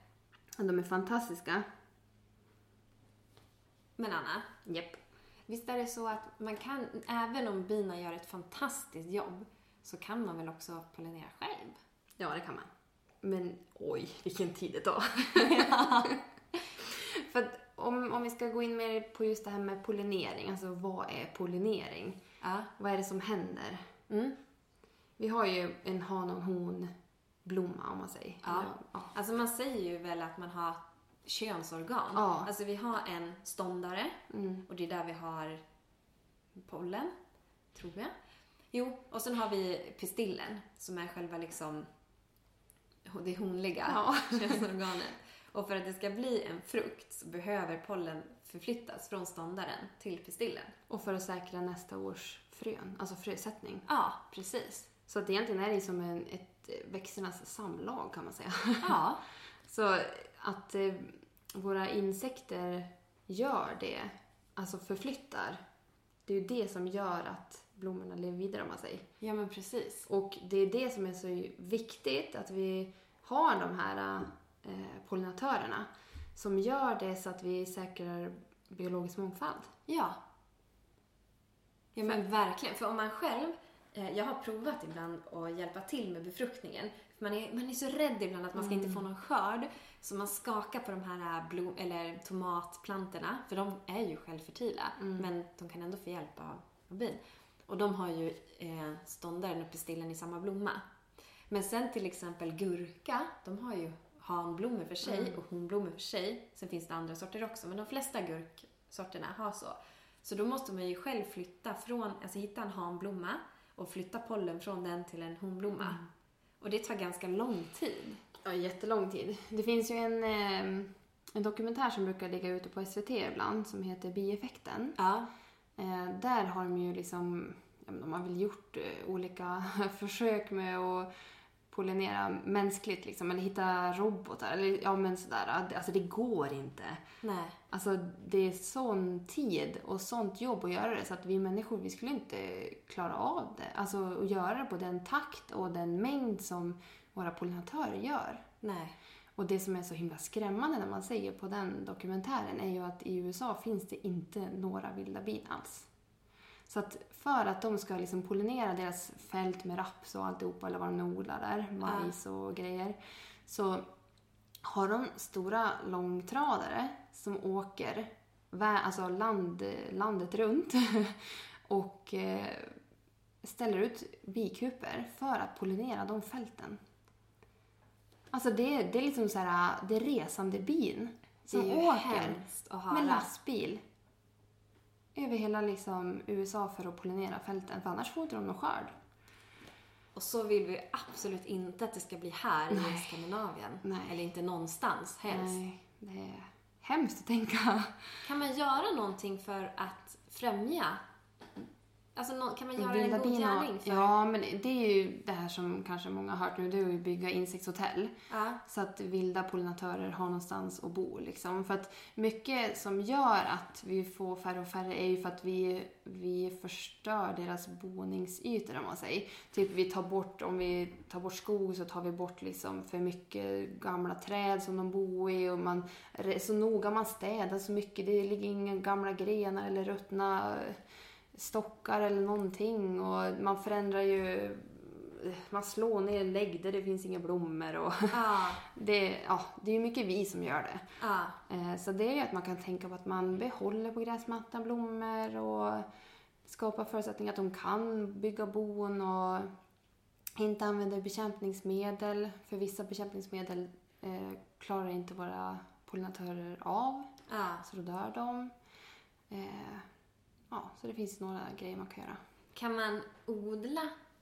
Speaker 1: De är fantastiska.
Speaker 2: Men Anna,
Speaker 1: Japp.
Speaker 2: Visst är det så att man kan, även om bina gör ett fantastiskt jobb, så kan man väl också pollinera själv?
Speaker 1: Ja, det kan man. Men oj, vilken tid det tar. För att om, om vi ska gå in mer på just det här med pollinering, alltså vad är pollinering?
Speaker 2: Ja.
Speaker 1: Vad är det som händer? Vi har ju en han och hon blomma om man säger.
Speaker 2: Ja.
Speaker 1: Eller, ja.
Speaker 2: Alltså man säger ju väl att man har könsorgan.
Speaker 1: Ja.
Speaker 2: Alltså vi har en ståndare
Speaker 1: Mm.
Speaker 2: och det är där vi har pollen, tror jag. Jo, och sen har vi pistillen som är själva liksom det honliga
Speaker 1: Ja.
Speaker 2: (laughs) könsorganet. Och för att det ska bli en frukt så behöver pollen förflyttas från ståndaren till pistillen.
Speaker 1: Och för att säkra nästa års frön, alltså frösättning.
Speaker 2: Ja, precis.
Speaker 1: Så att egentligen är det som en, ett växternas samlag kan man säga.
Speaker 2: Ja.
Speaker 1: Så att eh, våra insekter gör det, alltså förflyttar, det är ju det som gör att blommorna lever vidare om man säger.
Speaker 2: Ja, men precis.
Speaker 1: Och det är det som är så viktigt, att vi har de här eh, pollinatörerna som gör det så att vi säkrar biologisk mångfald.
Speaker 2: Ja. Ja, men verkligen. För om man själv... eh, Jag har provat ibland att hjälpa till med befruktningen. För Man är, man är så rädd ibland att man ska inte få någon skörd. Så man skakar på de här eh, blom, eller tomatplantorna. För de är ju självfertila. Men de kan ändå få hjälp av av bin. Och de har ju eh, ståndaren och pistillen i samma blomma. Men sen till exempel gurka, de har ju hanblommor för sig
Speaker 1: Mm.
Speaker 2: och honblommor för sig. Sen finns det andra sorter också, men de flesta gurksorterna har så. Så då måste man ju själv flytta från, alltså hitta en hanblomma och flytta pollen från den till en honblomma.
Speaker 1: Mm.
Speaker 2: Och det tar ganska lång tid.
Speaker 1: Ja, jättelång tid. Det finns ju en, eh, en dokumentär som brukar ligga ute på SVT ibland som heter Bieffekten.
Speaker 2: Ja.
Speaker 1: Eh, där har de ju liksom, ja, men de har väl gjort eh, olika (laughs) försök med att pollinera mänskligt liksom, eller hitta robotar eller ja men sådär. Alltså det går inte.
Speaker 2: Nej.
Speaker 1: Alltså det är sån tid och sånt jobb att göra det så att vi människor vi skulle inte klara av det. Alltså att göra det på den takt och den mängd som våra pollinatörer gör.
Speaker 2: Nej.
Speaker 1: Och det som är så himla skrämmande när man säger på den dokumentären är ju att i USA finns det inte några vilda bin alls. Så att för att de ska liksom pollinera deras fält med raps och alltihopa eller vad de nu odlar där, majs och grejer, så har de stora långtradare som åker vä- alltså land, landet runt (laughs) och eh, ställer ut bikuper för att pollinera de fälten. Alltså det, det är liksom så här, det är resande bin som
Speaker 2: det är ju
Speaker 1: åker alltså-
Speaker 2: hemskt att höra.
Speaker 1: med lastbil över hela liksom USA för att pollinera fälten, för annars får inte de någon skörd.
Speaker 2: Och så vill vi absolut inte att det ska bli här i
Speaker 1: Nej.
Speaker 2: Skandinavien.
Speaker 1: Nej.
Speaker 2: Eller inte någonstans helst.
Speaker 1: Nej, det är hemskt att tänka.
Speaker 2: Kan man göra någonting för att främja? Alltså nå- kan man göra en god
Speaker 1: bin och-
Speaker 2: gärning? För...
Speaker 1: Ja, men det är ju det här som kanske många har hört nu, det är ju att bygga insektshotell.
Speaker 2: Ja.
Speaker 1: Så att vilda pollinatörer har någonstans att bo. Liksom. För att mycket som gör att vi får färre och färre är ju för att vi, vi förstör deras boningsytor om man säger. Typ vi tar bort, om vi tar bort skog så tar vi bort liksom för mycket gamla träd som de bor i och man är så noga, man städar så mycket. Det ligger inga gamla grenar eller ruttna eh, stockar eller någonting och man förändrar ju man slår ner lägg där det finns inga blommor och (laughs)
Speaker 2: Ja.
Speaker 1: det, ja, det är ju mycket vi som gör det.
Speaker 2: ja.
Speaker 1: Eh, Så det är ju att man kan tänka på att man behåller på gräsmattan blommor och skapar förutsättningar att de kan bygga bon och inte använder bekämpningsmedel. För vissa bekämpningsmedel eh, klarar inte våra pollinatörer av,
Speaker 2: ja.
Speaker 1: så då dör de. Eh, ja, så det finns några grejer man kan göra.
Speaker 2: Kan man odla,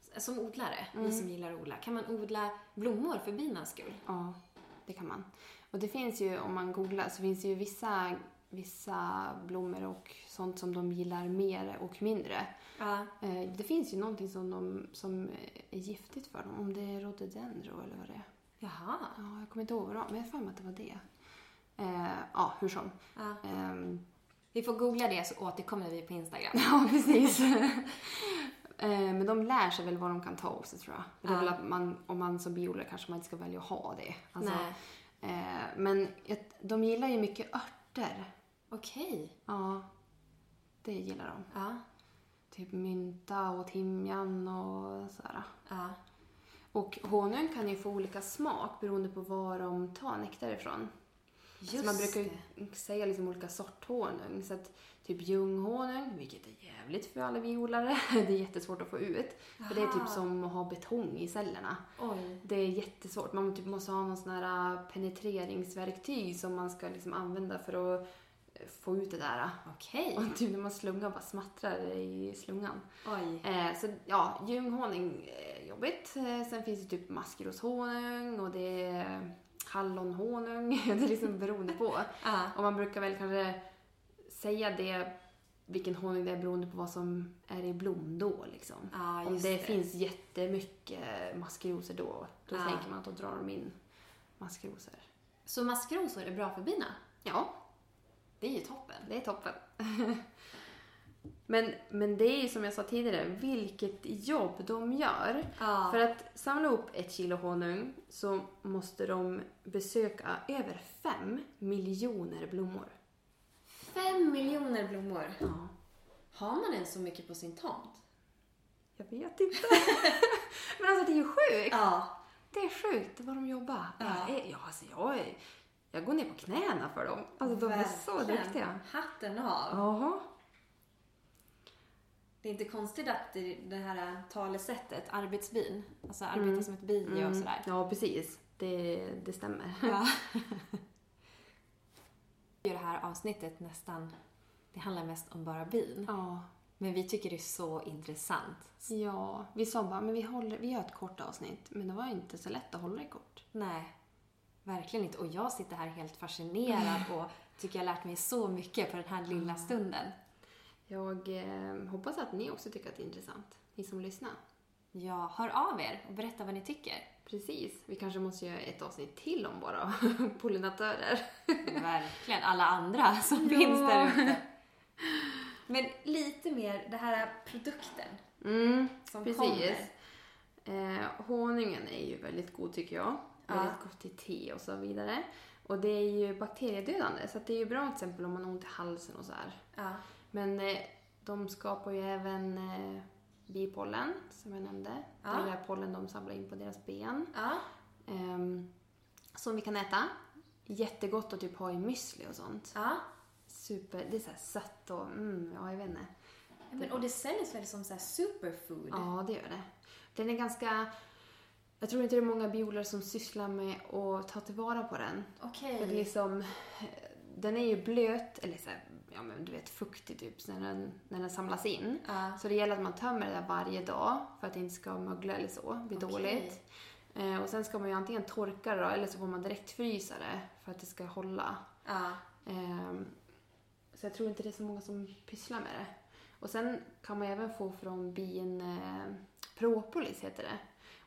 Speaker 1: Mm.
Speaker 2: som odlare, vi som gillar att odla, kan man odla blommor för binas skull?
Speaker 1: Ja. det kan man. Och det finns ju, om man googlar, så finns det ju vissa, vissa blommor och sånt som de gillar mer och mindre.
Speaker 2: Ja.
Speaker 1: Eh, Det finns ju någonting som, de, som eh, är giftigt för dem, om det är rhododendro eller vad det är.
Speaker 2: Jaha.
Speaker 1: Ja, jag kommer inte ihåg vad det var, men jag har för mig att det var det. Eh, ja, hur som.
Speaker 2: Ja.
Speaker 1: Ehm, (laughs)
Speaker 2: Vi får googla det så återkommer vi på Instagram.
Speaker 1: Ja, precis. (laughs) Eh, Men de lär sig väl vad de kan ta också tror jag. För Det är
Speaker 2: Ja.
Speaker 1: väl att man, om man som biodlare kanske man inte ska välja att ha det. Alltså,
Speaker 2: Nej.
Speaker 1: eh, Men jag- de gillar ju mycket örter.
Speaker 2: Okej.
Speaker 1: Ja, det gillar de.
Speaker 2: Ja.
Speaker 1: Typ mynta och timjan och sådär.
Speaker 2: Ja.
Speaker 1: Och honung kan ju få olika smak beroende på var de tar nektar ifrån.
Speaker 2: Just
Speaker 1: så man brukar
Speaker 2: det.
Speaker 1: ju säga liksom olika sorthonung. Så att typ ljunghonung, vilket är jävligt för alla biodlare. (laughs) Det är jättesvårt att få ut. För det är
Speaker 2: Aha.
Speaker 1: typ som att ha betong i cellerna.
Speaker 2: Oj.
Speaker 1: Det är jättesvårt. Man typ måste ha någon sån här äh, penetreringsverktyg som man ska liksom använda för att äh, få ut det där.
Speaker 2: Okej.
Speaker 1: Och typ när man slungar bara smattrar det i slungan.
Speaker 2: Oj.
Speaker 1: Eh, så ja, ljunghonung, eh, jobbigt. Eh, sen finns det typ maskroshonung och det är hallonhonung. (laughs) det är liksom beroende på.
Speaker 2: Ja.
Speaker 1: Och man brukar väl kanske säga det, vilken honung det är beroende på vad som är i blom då. Liksom.
Speaker 2: Ja,
Speaker 1: Om det,
Speaker 2: just det.
Speaker 1: finns jättemycket maskrosor då, då
Speaker 2: Ja.
Speaker 1: tänker man att då drar de in maskrosor.
Speaker 2: Så maskrosor är bra för bina?
Speaker 1: Ja,
Speaker 2: Det är ju toppen.
Speaker 1: det är toppen. (laughs) men, men det är ju som jag sa tidigare, vilket jobb de gör.
Speaker 2: Ja.
Speaker 1: För att samla upp ett kilo honung så måste de besöka över fem miljoner blommor.
Speaker 2: Fem miljoner blommor.
Speaker 1: Ja.
Speaker 2: Har man ens så mycket på sin tomt?
Speaker 1: Jag vet
Speaker 2: (laughs)
Speaker 1: inte. Men alltså det är ju sjukt.
Speaker 2: Ja.
Speaker 1: Det är sjukt vad de jobbar.
Speaker 2: Ja.
Speaker 1: Jag, är- ja, alltså, jag, är- jag går ner på knäna för dem. Alltså de är så
Speaker 2: Verkligen.
Speaker 1: duktiga.
Speaker 2: Hatten av.
Speaker 1: Jaha.
Speaker 2: Det är inte konstigt att det, det här talesättet, arbetsbin, alltså
Speaker 1: Mm.
Speaker 2: arbeta som ett bi och sådär.
Speaker 1: Ja, precis. Det, det stämmer.
Speaker 2: Ja. Det här avsnittet nästan, det handlar mest om bara bin.
Speaker 1: Ja.
Speaker 2: Men vi tycker det är så intressant.
Speaker 1: ja. Vi sa bara, men vi, håller, vi gör ett kort avsnitt. Men det var ju inte så lätt att hålla det kort.
Speaker 2: Nej, verkligen inte. Och jag sitter här helt fascinerad och tycker jag lärt mig så mycket på den här lilla stunden.
Speaker 1: Jag eh, hoppas att ni också tycker att det är intressant. Ni som lyssnar.
Speaker 2: Ja, hör av er och berätta vad ni tycker.
Speaker 1: Precis. Vi kanske måste göra ett avsnitt till om bara (laughs) pollinatörer.
Speaker 2: Verkligen, alla andra som finns där ute. Men lite mer det här produkten
Speaker 1: Mm.
Speaker 2: som
Speaker 1: Precis.
Speaker 2: kommer.
Speaker 1: Eh, honungen är ju väldigt god tycker jag.
Speaker 2: Ja.
Speaker 1: Väldigt gott till te och så vidare. Och det är ju bakteriedödande så att det är ju bra till exempel om man har ont i halsen och så här.
Speaker 2: Ja.
Speaker 1: Men eh, de skapar ju även eh, bipollen som jag nämnde.
Speaker 2: Ja.
Speaker 1: Det är där pollen de samlar in på deras ben.
Speaker 2: Ja.
Speaker 1: Ehm, som vi kan äta. Jättegott att typ ha i müsli och sånt.
Speaker 2: ja.
Speaker 1: Super, det är så här sött och mm, ja jag vet inte.
Speaker 2: Men, och det säljs väl som så här superfood?
Speaker 1: Ja, det gör det. Den är ganska... Jag tror inte det är många biodlare som sysslar med att ta tillvara på den.
Speaker 2: Okej.
Speaker 1: För liksom, eh, den är ju blöt, eller så här, ja, men du vet fuktig typ, så när den, när den samlas in.
Speaker 2: Ja.
Speaker 1: Så det gäller att man tömmer det där varje dag för att det inte ska mögla eller så, bli
Speaker 2: Okej.
Speaker 1: dåligt. Eh, och sen ska man ju antingen torka det då, eller så får man direkt frysa det för att det ska hålla.
Speaker 2: Ja.
Speaker 1: Ehm, så jag tror inte det är så många som pysslar med det. Och sen kan man även få från bin eh, propolis heter det.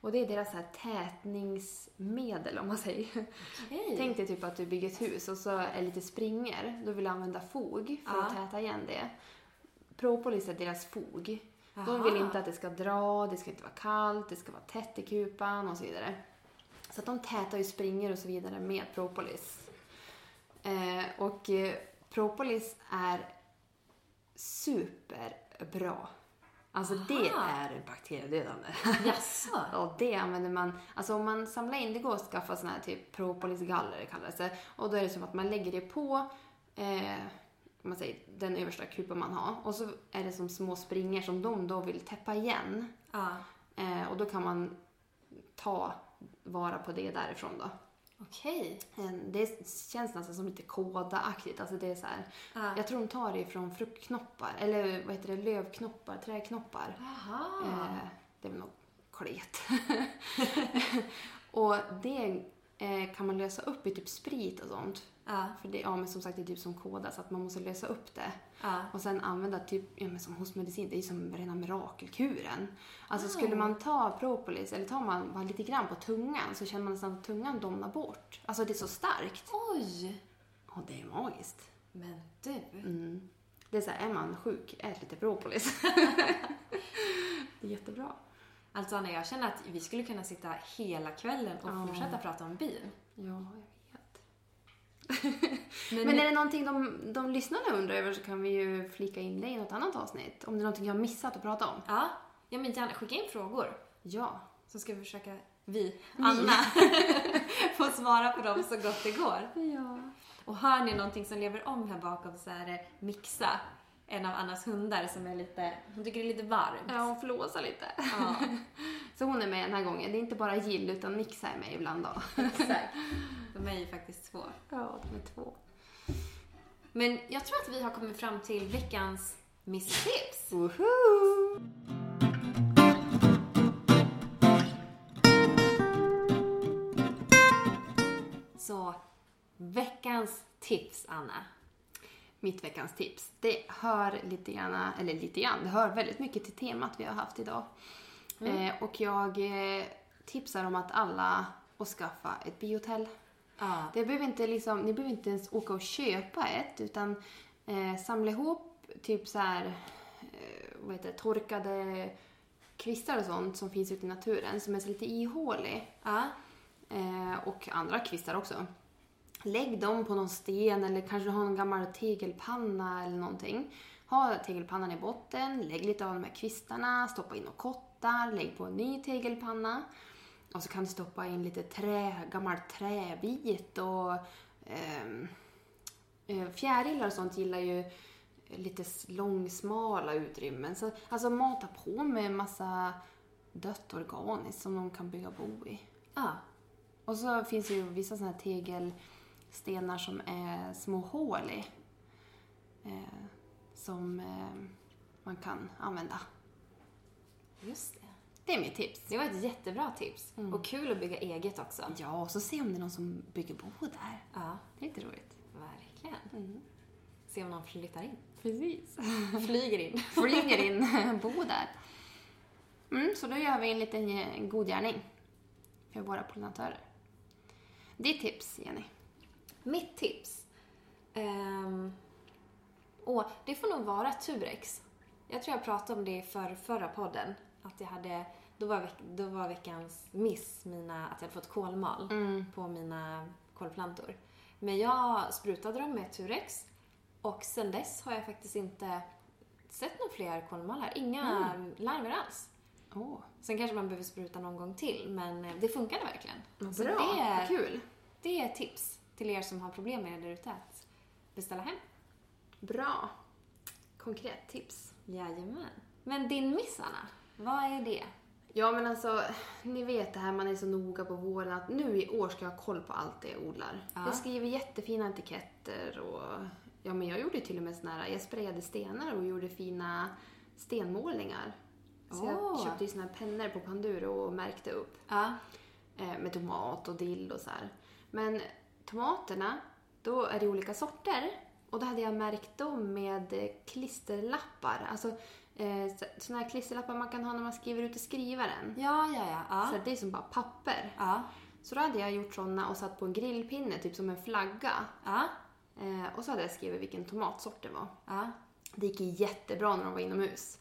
Speaker 1: Och det är deras så här tätningsmedel om man säger.
Speaker 2: Okej.
Speaker 1: Tänk dig typ att du bygger ett hus och så är lite springer. Då vill du använda fog för att
Speaker 2: Ja.
Speaker 1: täta igen det. Propolis är deras fog. De
Speaker 2: Aha.
Speaker 1: vill inte att det ska dra, det ska inte vara kallt, det ska vara tätt i kupan och så vidare. Så att de tätar ju springer och så vidare med propolis. Eh, och eh, propolis är superbra. Alltså det
Speaker 2: Aha.
Speaker 1: är bakteriedödande.
Speaker 2: Jaså?
Speaker 1: (laughs) Ja, det använder man. Alltså om man samlar in, det går att skaffa såna här typ propolisgaller kallas det. Och då är det som att man lägger det på eh, om man säger, den översta kupan man har. Och så är det som små springor som de då vill täppa igen.
Speaker 2: Ja.
Speaker 1: Eh, och då kan man ta vara på det därifrån då.
Speaker 2: Okej.
Speaker 1: Eh, Det känns nästan som lite kådaaktigt. Alltså det är så här.
Speaker 2: Ja.
Speaker 1: Jag tror de tar det från fruktknoppar, eller vad heter det, lövknoppar, Eh, trädknoppar.
Speaker 2: Jaha.
Speaker 1: (laughs) Eh, det är väl något klet. och det eh, kan man lösa upp i typ sprit och sånt.
Speaker 2: Ja.
Speaker 1: För det, ja, men som sagt, det är typ som koda så att man måste lösa upp det.
Speaker 2: Ja.
Speaker 1: Och sen använda typ, ja, men som hostmedicin, det är ju som rena mirakelkuren. Alltså skulle man ta propolis, eller tar man bara lite grann på tungan så känner man nästan att tungan domnar bort. Alltså det är så starkt.
Speaker 2: Oj!
Speaker 1: Ja, det är magiskt.
Speaker 2: Men du.
Speaker 1: Mm. Det är så här, är man sjuk, ät lite propolis. (laughs) det är jättebra.
Speaker 2: Alltså Anna, jag känner att vi skulle kunna sitta hela kvällen och
Speaker 1: Ja.
Speaker 2: fortsätta prata om bin.
Speaker 1: Ja, jag vet.
Speaker 2: Men,
Speaker 1: Men är det någonting de, de lyssnarna undrar över så kan vi ju flika in det i något annat avsnitt. Om det är någonting jag har missat att prata om.
Speaker 2: ja, ja, men gärna skicka in frågor.
Speaker 1: Ja.
Speaker 2: Så ska vi försöka, vi, (laughs) Anna, få svara på dem så gott det går.
Speaker 1: Ja.
Speaker 2: Och hör ni någonting som lever om här bakom så är det Mixa, en av Annas hundar som är lite, hon tycker det är lite varmt.
Speaker 1: Ja, hon flåsar lite.
Speaker 2: Ja, (laughs)
Speaker 1: Så hon är med den här gången. Det är inte bara Jill utan Mixa är med ibland då.
Speaker 2: exakt. De är ju faktiskt två.
Speaker 1: Ja, de är två.
Speaker 2: Men jag tror att vi har kommit fram till veckans Miss Tips.
Speaker 1: Woho!
Speaker 2: Så veckans tips, Anna.
Speaker 1: Mitt veckans tips. Det hör lite grann, eller lite grann, det hör väldigt mycket till temat vi har haft idag. Eh, och jag eh, tipsar om att alla och skaffa ett biotell.
Speaker 2: Ja.
Speaker 1: Det behöver inte liksom, ni behöver inte ens åka och köpa ett utan eh, samla ihop typ så här, eh, vad heter det, torkade kvistar och sånt som finns ute i naturen som är så lite ihålig.
Speaker 2: Ja.
Speaker 1: Eh, och andra kvistar också. Lägg dem på någon sten eller kanske ha en gammal tegelpanna eller någonting. Ha tegelpannan i botten, lägg lite av de här kvistarna, stoppa in och kottar, lägg på en ny tegelpanna. Och så kan du stoppa in lite trä, gammal träbit och ehm, eh, fjärilar och sånt gillar ju lite s- långsmala utrymmen. Så, alltså mata på med massa dött organiskt som de kan bygga bo i.
Speaker 2: Ja.
Speaker 1: Och så finns det ju vissa såna här tegelstenar som är små hål i. Eh, som eh, man kan använda.
Speaker 2: Just det.
Speaker 1: Det är mitt tips.
Speaker 2: Det var ett jättebra tips. Och kul att bygga eget också.
Speaker 1: Ja, och så se om det är någon som bygger bo där.
Speaker 2: Ja,
Speaker 1: Det är lite roligt.
Speaker 2: verkligen. Se om någon flyttar in.
Speaker 1: Mm.
Speaker 2: (laughs)
Speaker 1: Precis.
Speaker 2: Flyger in.
Speaker 1: Flyger in, (laughs) bo där. Mm, så då gör vi en liten ge- en god gärning för våra pollinatörer. Ditt tips, Jenny.
Speaker 2: Mitt tips. Ehm, åh, det får nog vara Turex. Jag tror jag pratade om det i för, förra podden. Att jag hade, då, var veck, då var veckans miss mina, att jag hade fått kolmal
Speaker 1: Mm.
Speaker 2: på mina kolplantor. Men jag sprutade dem med Turex och sen dess har jag faktiskt inte sett några fler kolmallar. Inga larver alls.
Speaker 1: Åh,
Speaker 2: Sen kanske man behöver spruta någon gång till, men eh, det funkade verkligen. Så
Speaker 1: bra.
Speaker 2: det-
Speaker 1: Vad kul.
Speaker 2: det är ett tips till er som har problem med det där ute att beställa hem.
Speaker 1: Bra. Konkret tips.
Speaker 2: Jajamän. Men din miss, Anna, vad är det?
Speaker 1: Ja men alltså, ni vet det här man är så noga på våren att nu i år ska jag ha koll på allt det jag odlar.
Speaker 2: Ja.
Speaker 1: Jag skriver jättefina etiketter och ja men jag gjorde till och med såna här, jag sprayade stenar och gjorde fina stenmålningar. Så jag
Speaker 2: Åh.
Speaker 1: köpte ju såna här pennor på Panduro och märkte upp
Speaker 2: Ja.
Speaker 1: eh, med tomat och dill och så här. Men tomaterna, då är det olika sorter. Och då hade jag märkt dem med eh, klisterlappar. Alltså eh, så- såna här klisterlappar man kan ha när man skriver ut i skrivaren.
Speaker 2: Ja, ja, ja.
Speaker 1: Så
Speaker 2: ja.
Speaker 1: det är som bara papper.
Speaker 2: ja.
Speaker 1: Så då hade jag gjort såna och satt på en grillpinne, typ som en flagga.
Speaker 2: ja.
Speaker 1: Eh, och så hade jag skrivit vilken tomatsort det var.
Speaker 2: ja.
Speaker 1: Det gick ju jättebra när de var inomhus.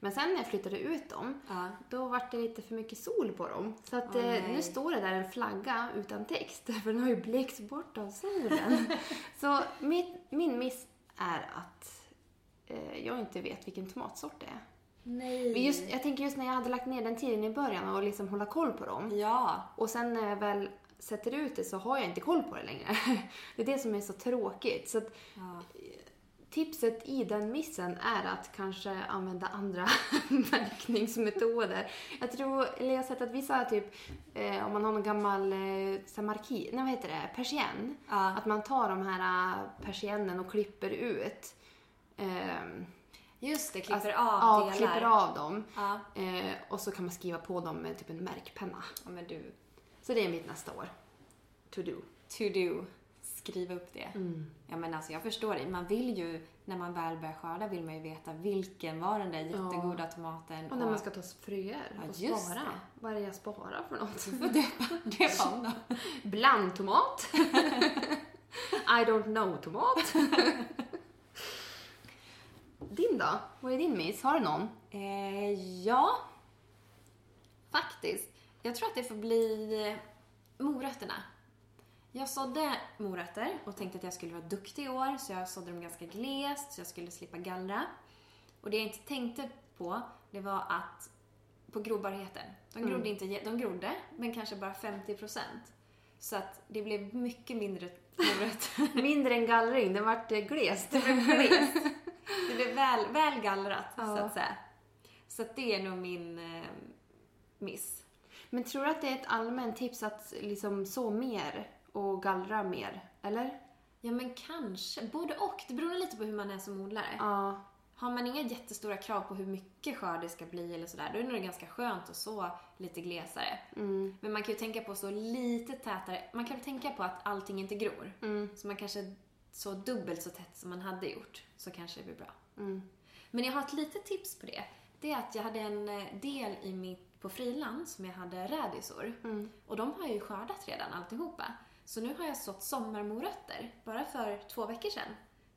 Speaker 1: Men sen när jag flyttade ut dem,
Speaker 2: ja.
Speaker 1: då var det lite för mycket sol på dem. Så att,
Speaker 2: Åh,
Speaker 1: eh,
Speaker 2: nej.
Speaker 1: nu står det där en flagga utan text, (laughs) för den har ju blekts bort av
Speaker 2: (laughs)
Speaker 1: solen. så mitt, min miss är att eh, jag inte vet vilken tomatsort det är.
Speaker 2: Nej.
Speaker 1: Men just, jag tänker just när jag hade lagt ner den tiden i början och liksom hålla koll på dem.
Speaker 2: Ja.
Speaker 1: Och sen när jag väl sätter ut det så har jag inte koll på det längre. (laughs) Det är det som är så tråkigt. Så att
Speaker 2: ja.
Speaker 1: tipset i den missen är att kanske använda andra (laughs) märkningsmetoder. Jag tror, eller jag har sett att vissa typ, eh, om man har någon gammal eh, så här marki, nej vad heter det, persienn.
Speaker 2: Ja.
Speaker 1: Att man tar de här eh, persiennen och klipper ut. ehm,
Speaker 2: Just det, klipper
Speaker 1: alltså-
Speaker 2: av
Speaker 1: Ja,
Speaker 2: delar.
Speaker 1: klipper av dem.
Speaker 2: Ja.
Speaker 1: Eh, och så kan man skriva på dem med typ en märkpenna.
Speaker 2: ja, men du.
Speaker 1: Så det är mitt nästa år. To do.
Speaker 2: To do. Skriv upp det. Ja men alltså jag förstår dig. Man vill ju, när man väl börjar skörda vill man ju veta vilken var den där jättegoda tomaten
Speaker 1: Och när man ska ta fröer
Speaker 2: Ja,
Speaker 1: och
Speaker 2: just
Speaker 1: spara.
Speaker 2: det.
Speaker 1: Vad är det jag sparar för något?
Speaker 2: (laughs) Du får döpa, döpa om dem.
Speaker 1: (laughs) Blandtomat? I don't know-tomat? (laughs) din då? Vad är din miss? Har du någon?
Speaker 2: Eh, ja, faktiskt. Jag tror att det får bli eh, morötterna. Jag sådde morötter och tänkte att jag skulle vara duktig i år, så jag sådde dem ganska glest så jag skulle slippa gallra. Och det jag inte tänkte på, det var att på grobarheten. De grodde, inte, jä- de grodde, men kanske bara 50%. Så att det blev mycket mindre
Speaker 1: (laughs)
Speaker 2: morötter.
Speaker 1: Mindre än gallring, den vart eh, glest.
Speaker 2: Glest. Det blev väl, väl gallrat,
Speaker 1: Ja.
Speaker 2: så att säga. Så att det är nog min eh, miss.
Speaker 1: Men tror du att det är ett allmänt tips att liksom så mer och gallra mer? Eller?
Speaker 2: Ja, men kanske. Både och. Det beror lite på hur man är som odlare.
Speaker 1: Ja.
Speaker 2: Har man inga jättestora krav på hur mycket skörd det ska bli eller sådär, då är det nog ganska skönt att så lite glesare.
Speaker 1: Mm.
Speaker 2: Men man kan ju tänka på så lite tätare. Man kan tänka på att allting inte gror.
Speaker 1: Mm.
Speaker 2: Så man kanske så dubbelt så tätt som man hade gjort, så kanske det blir bra.
Speaker 1: Mm.
Speaker 2: Men jag har ett litet tips på det. Det är att jag hade en eh, del i mitt, på friland som jag hade rädisor.
Speaker 1: Mm.
Speaker 2: Och de har jag ju skördat redan alltihopa. Så nu har jag sått sommarmorötter, bara för två veckor sedan,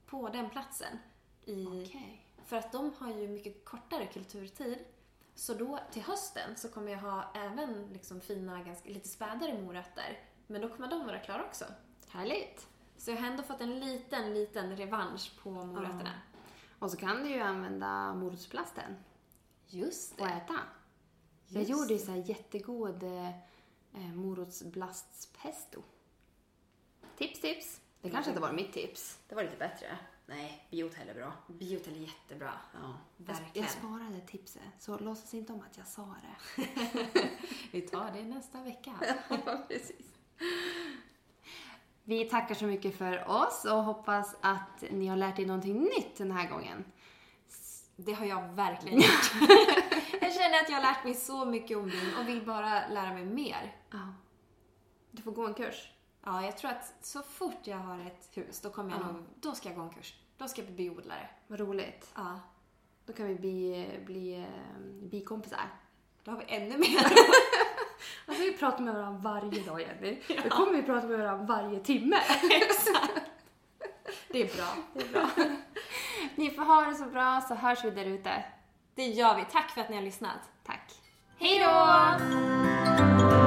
Speaker 2: på den platsen. I,
Speaker 1: Okej.
Speaker 2: För att de har ju mycket kortare kulturtid. Så då till hösten så kommer jag ha även liksom fina, ganska, lite spädare morötter. Men då kommer de vara klara också.
Speaker 1: Härligt.
Speaker 2: Så jag har ändå fått en liten, liten revansch på morötterna.
Speaker 1: Och så kan du ju använda morotsplasten
Speaker 2: Just
Speaker 1: och
Speaker 2: det.
Speaker 1: äta. Jag
Speaker 2: Just
Speaker 1: gjorde ju så här jättegod eh, eh, morotsbladspesto. Tips, tips. Det kanske inte var mitt tips. Det var lite bättre. Nej, biotell är bra.
Speaker 2: Biotel är jättebra.
Speaker 1: Ja,
Speaker 2: verkligen.
Speaker 1: Jag sparade tipset, så låtsas inte om att jag sa det.
Speaker 2: Vi tar det nästa vecka.
Speaker 1: Precis. Vi tackar så mycket för oss och hoppas att ni har lärt er någonting nytt den här gången.
Speaker 2: (laughs) Det har jag
Speaker 1: (laughs)
Speaker 2: verkligen gjort. (laughs) jag känner att jag har lärt mig så mycket om bin och vill bara lära mig mer.
Speaker 1: Ja. Du får gå en kurs.
Speaker 2: Ja, jag tror att så fort jag har ett hus, då kommer jag
Speaker 1: Ja.
Speaker 2: nog, då ska jag gå en kurs. Då ska jag bli biodlare.
Speaker 1: Vad roligt.
Speaker 2: Ja,
Speaker 1: Då kan vi bli, bli eh, bikompisar.
Speaker 2: då har vi ännu mer.
Speaker 1: Alltså vi pratar med varandra varje dag
Speaker 2: (laughs)
Speaker 1: Jenny. Då kommer vi prata med varandra varje timme.
Speaker 2: Exakt. Det är bra.
Speaker 1: Ni får ha det så bra så hörs vi där ute.
Speaker 2: Det gör vi. Tack för att ni har lyssnat.
Speaker 1: Tack.
Speaker 2: Hej då!